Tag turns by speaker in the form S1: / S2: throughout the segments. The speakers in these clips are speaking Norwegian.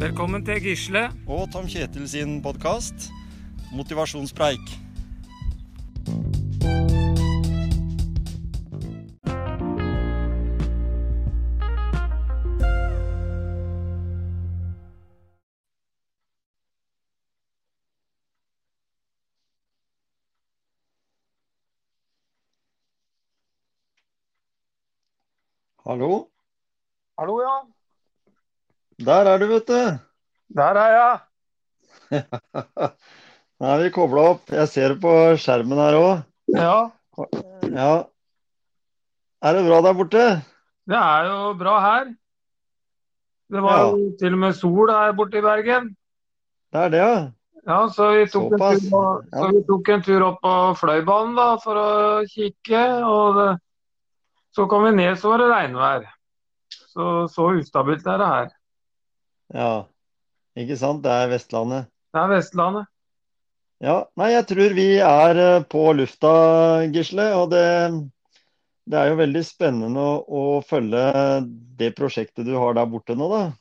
S1: Velkommen til Gisle.
S2: og Tom Kjetil sin podkast Motivasjonspreik. Hallo.
S3: Hallo, ja.
S2: Der er du, vet du.
S3: Der er jeg.
S2: Nå er vi kobla opp. Jeg ser det på skjermen her òg.
S3: Ja,
S2: Ja. Er det bra der borte?
S3: det er jo bra her. Det var
S2: Ja.
S3: jo til og med sol her borte i Bergen.
S2: Det er det, ja.
S3: Ja, så vi tok, en
S2: Såpass.
S3: tur, på-
S2: Ja.
S3: så vi tok en tur opp på Fløibanen da, for å kikke. Og det, så kom vi ned, så var det regnvær. Så, så ustabilt er det her.
S2: Ja. Ikke sant? Det er Vestlandet.
S3: Det er Vestlandet.
S2: Ja. Nei, jeg tror vi er eh, på lufta, Gisle. Og det, det er jo veldig spennende å, å følge det prosjektet du har der borte nå, da.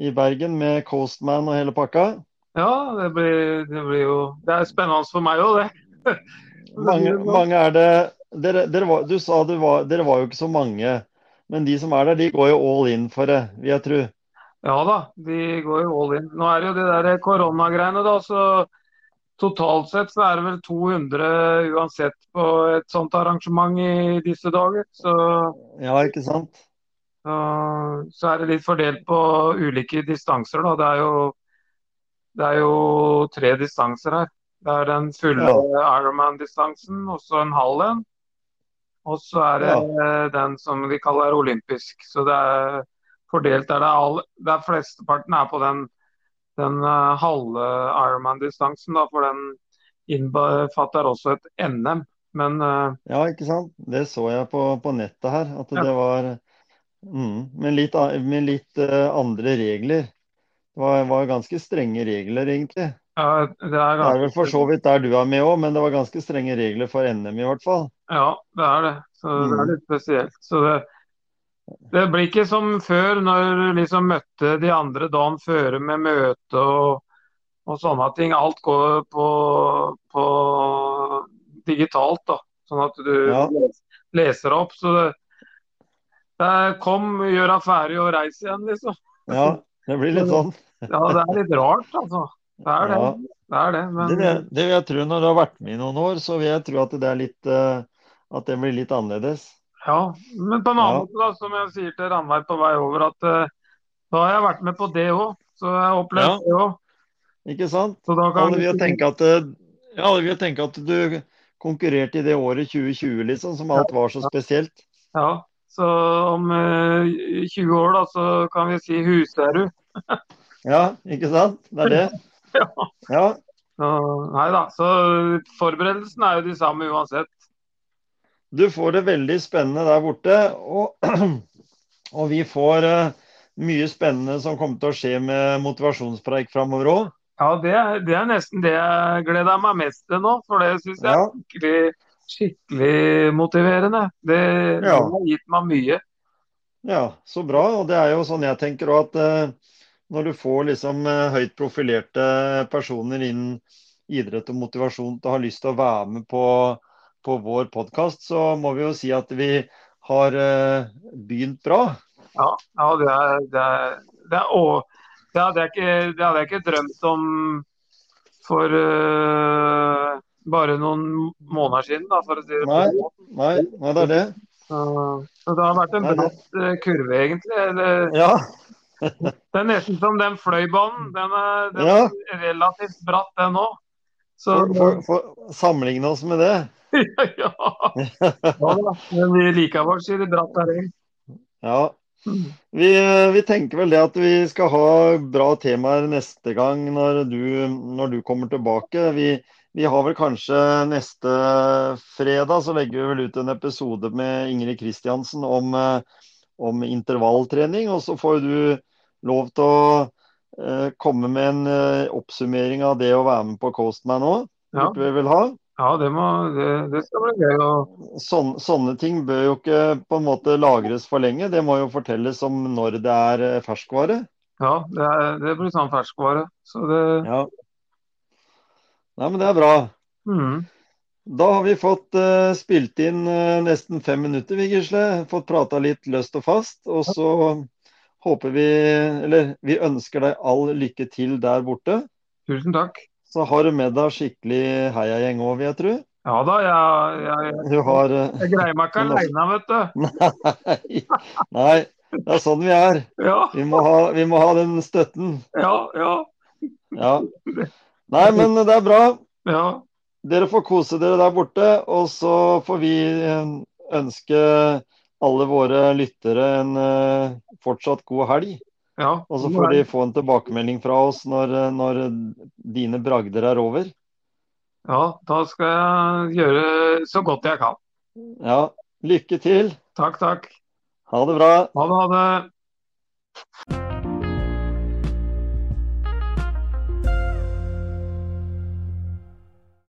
S2: I Bergen med Coastman og hele pakka.
S3: Ja, det blir, det blir jo Det er spennende for meg òg, det.
S2: Mange, mange er det dere, dere var, Du sa det var, dere var jo ikke så mange. Men de som er der, de går jo all in for det, vil jeg tro.
S3: Ja da, de går jo all in. Nå er det jo de der koronagreiene, da. Så totalt sett så er det vel 200 uansett på et sånt arrangement i disse dager. Så,
S2: Ja, ikke sant?
S3: så, så er det litt fordelt på ulike distanser, da. Det er jo, det er jo tre distanser her. Det er den fulle Ironman-distansen, og så en halv en. Og så er det eh, den som de kaller olympisk. Så det er fordelt der det er all, der flesteparten er på den, den eh, halve Ironman-distansen, da, for den innbefatter også et NM. Men eh,
S2: Ja, ikke sant? Det så jeg på, på nettet her, at
S3: Ja.
S2: det var mm, med litt, a- med litt eh, andre regler. Det var, var ganske strenge regler, egentlig.
S3: ja, det er
S2: Det er vel
S3: ganske
S2: for så vidt der du er med òg, men det var ganske strenge regler for NM i hvert fall.
S3: Ja, det er det. Så det
S2: Mm.
S3: er litt spesielt. Så det, det blir ikke som før, når du liksom møtte de andre dagen før med møte og, og sånne ting. Alt går på, på digitalt, da. Sånn at du
S2: Ja.
S3: les- leser opp. Så det, det er kom, gjør deg ferdig og reis igjen, liksom.
S2: Ja, det blir litt sånn.
S3: Ja, det er litt rart, altså. Det er det.
S2: Ja.
S3: Det er det. Men
S2: Det, vil- det vil jeg tro når du har vært med i noen år, så vil jeg tro at det er litt eh, At det blir litt annerledes.
S3: Ja, men på en annen
S2: Ja.
S3: måte, da, som jeg sier til Ranveig på vei over, at eh, da har jeg vært med på det òg. Så jeg har opplevd
S2: Ja.
S3: det òg.
S2: Ikke sant?
S3: Så da kan
S2: Alle vil jo tenke at, eh, ja, alle vil jo tenke at du konkurrerte i det året 2020, liksom, som alt var så spesielt.
S3: Ja, så om eh, 20 år, da, så kan vi si Huserud.
S2: Ja, ikke sant? Det er det.
S3: Ja.
S2: Ja,
S3: Så, nei da, så forberedelsen er jo de samme uansett.
S2: du får det veldig spennende der borte. Og, og vi får eh, mye spennende som kommer til å skje med motivasjonspreik framover òg.
S3: Ja, det, er- det er nesten det jeg gleder meg mest til nå, for det syns jeg
S2: Ja,
S3: er skikkelig, skikkelig motiverende. Det, det
S2: Ja.
S3: har gitt meg mye.
S2: ja, så bra. Og det er jo sånn jeg tenker òg at eh, når du får liksom eh, høyt profilerte personer innen idrett og motivasjon til å ha lyst til å være med på, på vår podkast, så må vi jo si at vi har eh, begynt bra.
S3: Ja, ja det, er, det, er, det, er, og, det, hadde jeg ikke, det hadde jeg ikke drømt om for eh, bare noen måneder siden, da, for å si det på
S2: Nei.
S3: den måten.
S2: Nei, nei det er det.
S3: Så, så det har vært en
S2: Nei, det-
S3: bratt eh, kurve, egentlig. Det,
S2: Ja.
S3: det er nesten som den fløibanen. Den er, den
S2: Ja.
S3: er relativt bratt, den òg. Så
S2: For, for, for sammenligne oss med det.
S3: ja. ja da. Men vi liker vår side bratt terreng.
S2: Ja. Vi, vi tenker vel det at vi skal ha bra temaer neste gang når du, når du kommer tilbake. Vi, vi har vel kanskje neste fredag så legger vi vel ut en episode med Ingrid Kristiansen om, eh, om intervalltrening. Og så får du lov til å eh, komme med en eh, oppsummering av det å være med på Coastman òg.
S3: Ja.
S2: Burde vi vel ha.
S3: Ja, det, må, det, det skal bli gøy å
S2: sånne, Sånn, sånne ting bør jo ikke på en måte lagres for lenge. Det må jo fortelles om når det er eh, ferskvare.
S3: Ja, det, er, det blir sånn ferskvare. Så det
S2: Ja. Nei, men det er bra.
S3: mm,
S2: Da har vi fått eh, spilt inn eh, nesten fem minutter, vi, Gisle. Fått prata litt løst og fast. Og så håper vi, eller vi ønsker deg all lykke til der borte.
S3: Tusen takk.
S2: Så har du med deg skikkelig heiagjeng òg, vil jeg tro.
S3: Ja da, jeg, jeg,
S2: Du har eh,
S3: jeg greier meg ikke
S2: Men altså-
S3: aleine, vet du.
S2: Nei. Nei, det er sånn vi er.
S3: Ja,
S2: Vi må ha, vi må ha den støtten.
S3: ja, ja.
S2: Ja. Nei, men det er bra.
S3: ja.
S2: Dere får kose dere der borte, og så får vi eh, ønske alle våre lyttere en eh, fortsatt god helg.
S3: ja.
S2: Og så får de få en tilbakemelding fra oss når, eh, når dine bragder er over.
S3: Ja, da skal jeg gjøre så godt jeg kan.
S2: Ja, lykke til.
S3: Takk, takk.
S2: Ha det bra.
S3: Ha det, ha det.